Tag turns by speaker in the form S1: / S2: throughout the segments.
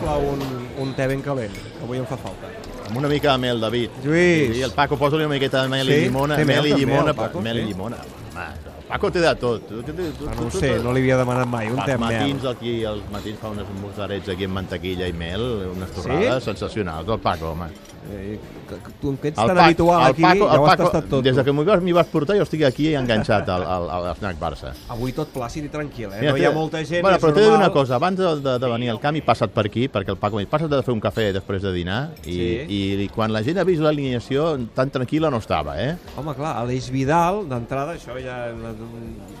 S1: plau, un, un te ben calent, que avui em fa falta.
S2: Amb una mica de mel, David.
S1: Lluís.
S2: I el Paco, posa-li una miqueta de mel
S1: Sí?
S2: i llimona.
S1: Té mel
S2: mel i
S1: també,
S2: llimona.
S1: el Paco,
S2: per- mel i
S1: sí.
S2: llimona. Home, el Paco té de tot. Tu- tu- tu- tu-
S1: Ah, no ho
S2: tu-
S1: sé,
S2: tu-
S1: no li havia demanat mai un te
S2: Pels
S1: amb mel.
S2: matins, aquí, els matins fa unes mozzarets aquí amb mantequilla i mel, unes torrades
S1: Sí?
S2: sensacionals. El Paco, home.
S1: Eh, que- que Tu, que ets
S2: El
S1: tan
S2: Pac-
S1: habitual
S2: el
S1: aquí, ja ho has tastat tot.
S2: Des
S1: tu.
S2: de que m'hi vas, m'hi vas portar, jo estic aquí enganxat al, al, al Snack Barça.
S1: Avui tot plàcid i tranquil, eh?
S2: Mira,
S1: no
S2: t'he
S1: hi ha
S2: de-
S1: molta gent,
S2: bueno,
S1: és
S2: però t'he de dir
S1: normal.
S2: una cosa, abans de, de, de venir al camp he passat per aquí, perquè el Paco m'ha dit, passa't de fer un cafè després de dinar, i,
S1: Sí.
S2: i, i quan la gent ha vist l'alineació, tan tranquil·la no estava, eh?
S1: Home, clar, Aleix Vidal, d'entrada, això ja...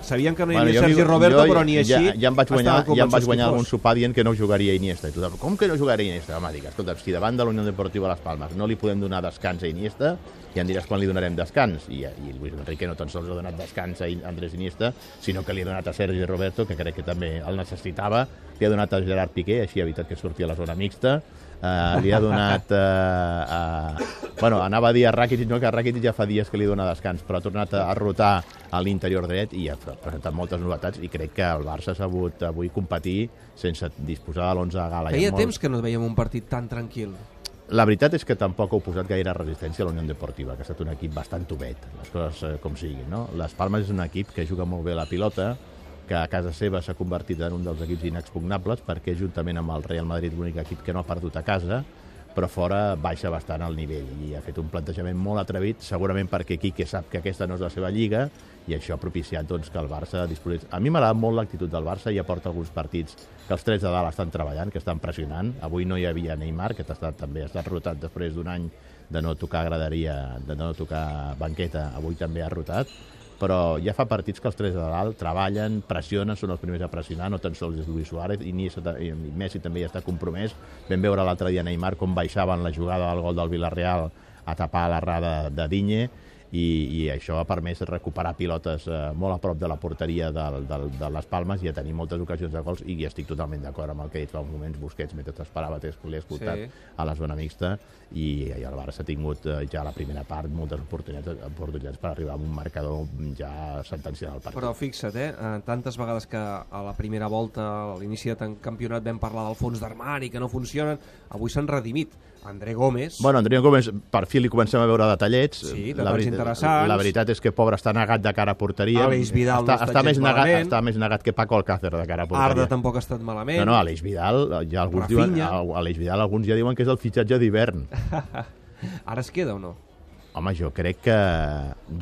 S1: Sabíem que no hi
S2: Bueno,
S1: havia
S2: jo
S1: bueno, Sergi
S2: vi-
S1: Roberto,
S2: jo,
S1: però ni així...
S2: Ja, ja em vaig guanyar,
S1: estàvem
S2: ja em vaig
S1: convençuts
S2: guanyar
S1: que hi
S2: algun
S1: fos.
S2: sopar dient que no jugaria Iniesta. I tothom, com que no jugaria Iniesta? Home, dic, escolta, si davant de la Unió Deportiva Las Palmes no li podem donar descans a Iniesta, ja em diràs quan li donarem descans. I, i Luis Enrique no tan sols ha donat descans a In- Andrés Iniesta, sinó que li ha donat a Sergi Roberto, que crec que també el necessitava, li ha donat a Gerard Piqué, així ha evitat que surti a la zona mixta, Uh, li ha donat... Uh, a... Bueno, anava a dir a Rakitic, no, que a Rakitic ja fa dies que li dona descans, però ha tornat a, a rotar a l'interior dret i ha pre- presentat moltes novetats i crec que el Barça ha sabut avui competir sense disposar de l'11 a gala. Hi ha
S1: Feia
S2: molt-
S1: temps que no veiem un partit tan tranquil.
S2: La veritat és que tampoc ha oposat gaire resistència a la Unió Deportiva, que ha estat un equip bastant tovet, les coses eh, com siguin. No? Les Palmes és un equip que juga molt bé a la pilota, que a casa seva s'ha convertit en un dels equips inexpugnables perquè juntament amb el Real Madrid l'únic equip que no ha perdut a casa però fora baixa bastant el nivell i ha fet un plantejament molt atrevit, segurament perquè Quique sap que aquesta no és la seva lliga i això ha propiciat doncs, que el Barça disposés... A mi m'agrada molt l'actitud del Barça i aporta alguns partits que els tres de dalt estan treballant, que estan pressionant. Avui no hi havia Neymar, que ha estat, també ha estat rotat després d'un any de no tocar graderia, de no tocar banqueta, avui també ha rotat però ja fa partits que els tres de dalt treballen, pressionen, són els primers a pressionar, no tan sols és Luis Suárez, i, Niesta, ta- i Messi també ja està compromès. Vam veure l'altre dia Neymar com baixava en la jugada del gol del Villarreal a tapar l'arrada de Dinye, i, i això ha permès recuperar pilotes eh, molt a prop de la porteria del, del, de les Palmes i a tenir moltes ocasions de gols i estic totalment d'acord amb el que he dit fa uns moments Busquets mentre t'esperava t'he l'he escoltat
S1: Sí.
S2: sí. a la zona mixta i, i el Barça ha tingut eh, ja a la primera part moltes oportunitats, oportunitats per arribar a un marcador ja sentenciant el partit.
S1: Però fixa't, eh? eh, tantes vegades que a la primera volta, a l'inici de tan campionat, vam parlar del fons d'armari, que no funcionen, avui s'han redimit. André Gómez,
S2: Bueno, Andreu Gómez, per fi li comencem a veure detallets.
S1: Sí,
S2: La
S1: detalls
S2: veri-
S1: interessants.
S2: La veritat és que pobre està negat de cara a porteria.
S1: Àlex Vidal no
S2: està,
S1: està
S2: està, més
S1: gens
S2: negat,
S1: malament.
S2: està més negat que Paco Alcácer de cara a porteria.
S1: Arda tampoc ha estat malament.
S2: No, no, Aleix Vidal, ja alguns
S1: Rafinha.
S2: diuen, al- Aleix Vidal, alguns ja diuen que és el fitxatge d'hivern.
S1: Ara es queda o no?
S2: Home, jo crec que,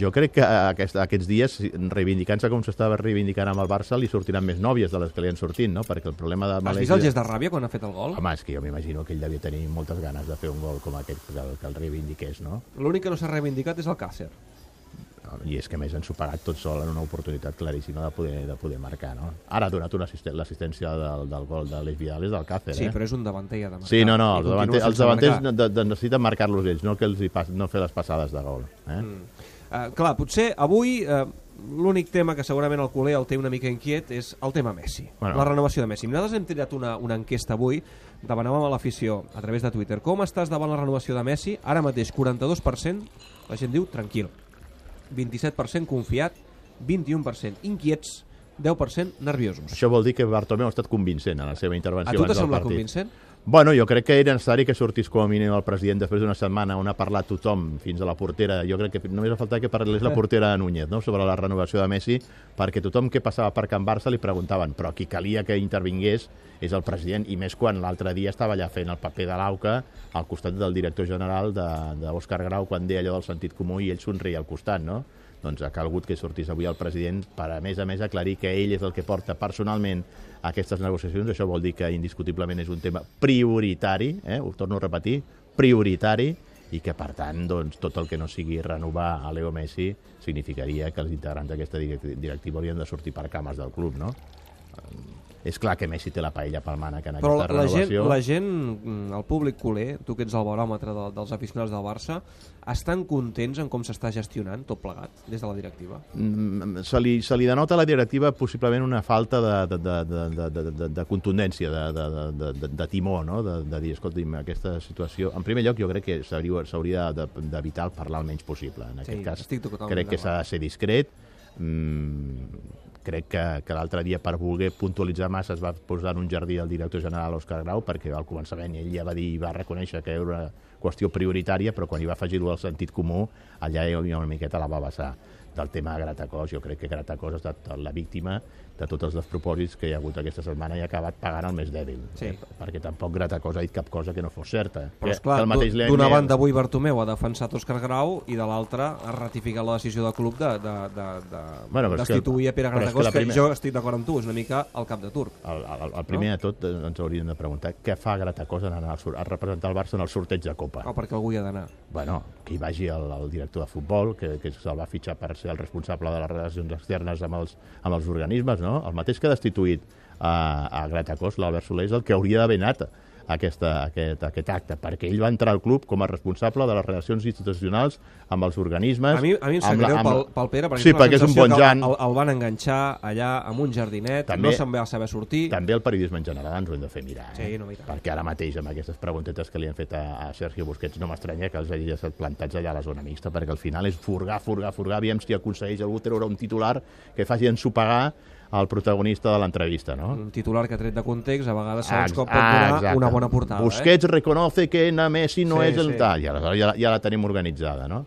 S2: jo crec que aquest, aquests dies, reivindicant-se com s'estava reivindicant amb el Barça, li sortiran més nòvies de les que li han sortit, no? Perquè el problema de
S1: Has
S2: Aleix
S1: vist el
S2: Vidal-
S1: gest de ràbia quan ha fet el gol?
S2: Home, és que jo m'imagino que ell devia tenir moltes ganes de fer un gol com aquest que el, que el reivindiqués, no?
S1: L'únic que no s'ha reivindicat és el Càcer.
S2: I és que a més han superat tot sol en una oportunitat claríssima de poder, de poder marcar, no? Ara ha donat una assisten- l'assistència del, del gol de l'Eix Vidal és del Càcer,
S1: Sí,
S2: eh?
S1: però és un davanter i ha de marcar.
S2: Sí, no, no,
S1: I
S2: els,
S1: continua
S2: davanter, els
S1: sense
S2: davanters
S1: marcar.
S2: no- de, de, necessiten marcar-los ells, no, que els hi pas, no fer les passades de gol. Eh? Mm.
S1: Eh, clar, potser avui eh, l'únic tema que segurament el culer el té una mica inquiet és el tema Messi, bueno.
S2: Bueno.
S1: la renovació de Messi. Nosaltres hem tirat una, una enquesta avui, demanàvem a l'afició a través de Twitter com estàs davant la renovació de Messi, ara mateix 42%, la gent diu tranquil, 27% confiat, 21% inquiets, 10% nerviosos.
S2: Això vol dir que Bartomeu ha estat convincent en la seva
S1: A
S2: intervenció
S1: tu
S2: abans
S1: t'ha
S2: del
S1: semblat
S2: partit.
S1: convincent?
S2: Bueno, jo crec que era necessari que sortís com a mínim el president després d'una setmana on ha parlat tothom fins a la portera. Jo crec que només ha faltat que parlés
S1: Eh.
S2: la portera de Núñez no? sobre la renovació de Messi perquè tothom que passava per Can Barça li preguntaven però qui calia que intervingués és el president i més quan l'altre dia estava allà fent el paper de l'AUCA al costat del director general de- d'Òscar Grau quan deia allò del sentit comú i ell somreia al costat, no? doncs ha calgut que sortís avui el president per, a més a més, aclarir que ell és el que porta personalment aquestes negociacions. Això vol dir que indiscutiblement és un tema prioritari, eh? ho torno a repetir, prioritari, i que, per tant, doncs, tot el que no sigui renovar a Leo Messi significaria que els integrants d'aquesta direc- directiva haurien de sortir per cames del club, no? Eh, És clar que Messi té la paella pel mànec en
S1: Però la,
S2: aquesta
S1: la, gent,
S2: renovació.
S1: la gent, mm, el públic culer, tu que ets el baròmetre de, dels aficionats del Barça, estan contents en com s'està gestionant tot plegat des de la directiva?
S2: Mm, se li, se li denota a la directiva possiblement una falta de, de, de, de, de, de, de contundència, de, de, de, de, de timó, no? de, de dir, escolti'm, aquesta situació... En primer lloc, jo crec que s'hauria s'hauria de- d'evitar el parlar el menys possible. En aquest cas,
S1: estic totalment
S2: crec que
S1: d'acord.
S2: s'ha de ser discret, mm, crec que, que l'altre dia, per voler puntualitzar massa, es va posar en un jardí el director general Òscar Grau, perquè al començament ell ja va dir i va reconèixer que era una qüestió prioritària, però quan hi va afegir-ho al sentit comú, allà ell una miqueta la va vessar del tema Gratacós. Jo crec que Gratacós ha estat la víctima de tots els despropòsits que hi ha hagut aquesta setmana i ha acabat pagant el més dèbil. Eh,
S1: Sí.
S2: perquè tampoc Gratacós ha dit cap cosa que no fos certa.
S1: Però,
S2: Que-
S1: esclar,
S2: que el mateix
S1: d'u-
S2: Lerner-
S1: d'una banda avui Bartomeu ha defensat Òscar Grau i de l'altra ha ratificat la decisió del club de, de, de, de
S2: Bueno, però és que-
S1: destituir a Pere
S2: però és que
S1: Gratacós,
S2: la
S1: que,
S2: primera-
S1: jo estic d'acord amb tu, és una mica el cap de turc.
S2: El, el, el primer no? de tot eh, ens hauríem de preguntar què fa Gratacós en anar al sur- a representar el Barça en el sorteig de Copa.
S1: O perquè algú hi ha d'anar.
S2: bueno, que hi vagi el, el director de futbol, que, que se'l va fitxar per ser el responsable de les relacions externes amb els, amb els organismes, no? El mateix que ha destituït a, a Gratacós, l'Albert Soler, és el que hauria d'haver anat a aquesta, aquest, aquest acte, perquè ell va entrar al club com a responsable de les relacions institucionals amb els organismes...
S1: A mi, a mi em sap
S2: amb la-
S1: greu
S2: amb
S1: pel,
S2: la-
S1: pel Pere, perquè,
S2: Sí,
S1: tinc la
S2: perquè és un
S1: sensació
S2: bon
S1: que
S2: jan.
S1: El, el, van enganxar allà amb un jardinet,
S2: També-
S1: no se'n va saber sortir.
S2: També el periodisme en general ens ho hem de fer mirar, eh?
S1: Sí, no, i tant.
S2: perquè ara mateix amb aquestes preguntetes que li han fet a, a Sergio Busquets no m'estranya que els hagi estat plantats allà a la zona mixta, perquè al final és furgar, furgar, furgar, aviam si aconsegueix algú treure un titular que faci ensopegar el protagonista de l'entrevista, no?
S1: Un titular que ha tret de context, a vegades segons
S2: Ex-
S1: com pot donar
S2: exacte.
S1: una bona portada. Eh?
S2: Busquets reconoce que na Messi no
S1: Sí,
S2: és el
S1: sí.
S2: tal, i aleshores ja, la- ja la tenim organitzada, no?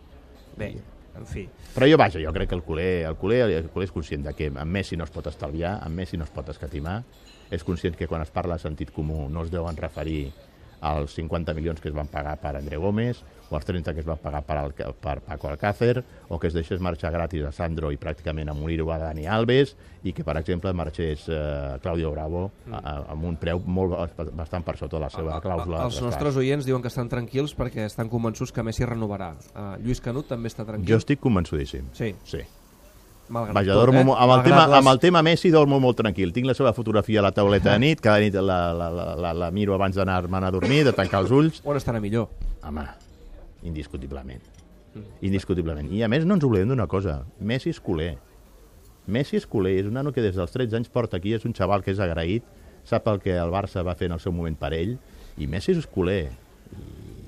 S1: Bé, en fi.
S2: Però jo, vaja, jo crec que el culer, el culer, el culer és conscient de que en Messi no es pot estalviar, en Messi no es pot escatimar, és conscient que quan es parla de sentit comú no es deuen referir als 50 milions que es van pagar per André Gómez, o als 30 que es van pagar per, Alca- per Paco Alcácer, o que es deixés marxar gratis a Sandro i pràcticament a morir-ho a Dani Alves, i que, per exemple, marxés eh, Claudio Bravo a, a, amb un preu molt bas- bastant per sota de la seva clàusula.
S1: Els
S2: de rescat.
S1: nostres oients diuen que estan tranquils perquè estan convençuts que Messi renovarà. Uh, Lluís Canut també està
S2: Jo
S1: tranquil.
S2: estic convençudíssim.
S1: Sí,
S2: Sí.
S1: malgrat
S2: Vaja,
S1: tot,
S2: dormo,
S1: eh?
S2: molt- amb, el
S1: Malgrat
S2: tema,
S1: les-
S2: amb el tema Messi dormo molt tranquil. Tinc la seva fotografia a la tauleta de nit, cada nit la, la, la, la, la miro abans d'anar-me'n a dormir, de tancar els ulls.
S1: On estarà millor?
S2: Home, indiscutiblement.
S1: Mm.
S2: Indiscutiblement. I a més no ens oblidem d'una cosa. Messi és culer. Messi és culer. És un nano que des dels 13 anys porta aquí, és un xaval que és agraït, sap el que el Barça va fer en el seu moment per ell, i Messi és culer.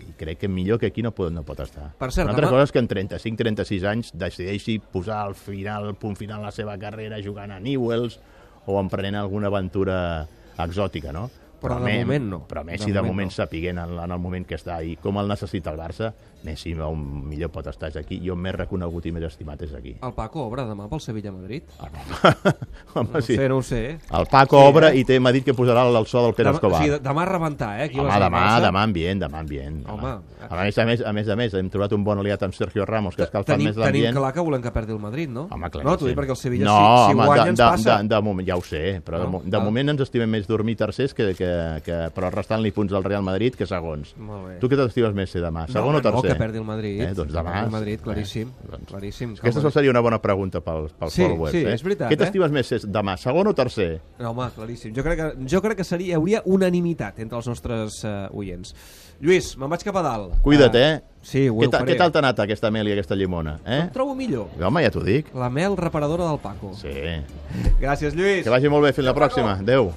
S2: I crec que millor que aquí no pot, no pot estar.
S1: Per cert,
S2: una altra
S1: demà-
S2: cosa és que en 35-36 anys decideixi posar al final, el punt final a la seva carrera jugant a Newells o emprenent alguna aventura exòtica, no?
S1: Però de
S2: Me-
S1: moment no.
S2: Però
S1: De
S2: Messi de,
S1: moment
S2: moment
S1: no.
S2: sapiguent en, en el moment que està i com el necessita el Barça, Messi on millor pot estar és aquí i on més reconegut i més estimat és aquí.
S1: El Paco obre demà pel Sevilla-Madrid?
S2: Home,
S1: Ah, No ho
S2: sí.
S1: sé, no ho sé. eh?
S2: El Paco
S1: Sí,
S2: obre
S1: eh?
S2: i té m'ha dit que posarà el sol del Pere
S1: Demà, o
S2: Escobar.
S1: sigui, demà a rebentar, eh? Aquí a la
S2: Home,
S1: zona
S2: demà,
S1: baixa.
S2: demà ambient, demà ambient.
S1: Home.
S2: A més, a més, a més, a més, hem trobat un bon aliat amb Sergio Ramos, que escalfa
S1: Tenim,
S2: més
S1: tenim
S2: l'ambient.
S1: clar que volem que perdi el Madrid, no?
S2: Home, clar.
S1: no, t'ho dic perquè el Sevilla,
S2: no,
S1: si, si
S2: home,
S1: guanya,
S2: de,
S1: ens
S2: de,
S1: passa.
S2: De, de, moment, ja ho sé, però de,
S1: No?
S2: mo- de
S1: Ah.
S2: moment ens estimem més dormir tercers que, que, que, però restant-li punts al Real Madrid que segons.
S1: Molt bé.
S2: Tu què t'estimes més ser demà?
S1: No,
S2: Segon
S1: home,
S2: o tercer?
S1: No, que perdi el Madrid.
S2: Eh, doncs demà.
S1: Que perdi El Madrid, claríssim.
S2: Eh, doncs.
S1: claríssim. que
S2: Aquesta
S1: el Madrid-
S2: seria una bona pregunta pel, pel
S1: Sí,
S2: Follow Web.
S1: sí,
S2: eh?
S1: és veritat,
S2: Què t'estimes més ser demà? Segon o tercer?
S1: No, home, claríssim. Jo crec que, jo crec que seria, hi hauria unanimitat entre els nostres eh, oients. Lluís, me'n vaig cap a dalt.
S2: Cuida't,
S1: Ah,
S2: eh?
S1: Sí, ho,
S2: Què
S1: ho
S2: ta-
S1: faré.
S2: què tal t'ha anat aquesta mel i aquesta llimona? Eh?
S1: Em trobo millor.
S2: Home, ja t'ho dic.
S1: La mel reparadora del Paco.
S2: Sí.
S1: Gràcies, Lluís.
S2: Que vagi molt bé. Fins la pròxima. Adéu.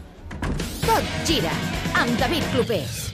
S3: Tot gira amb David Clopés.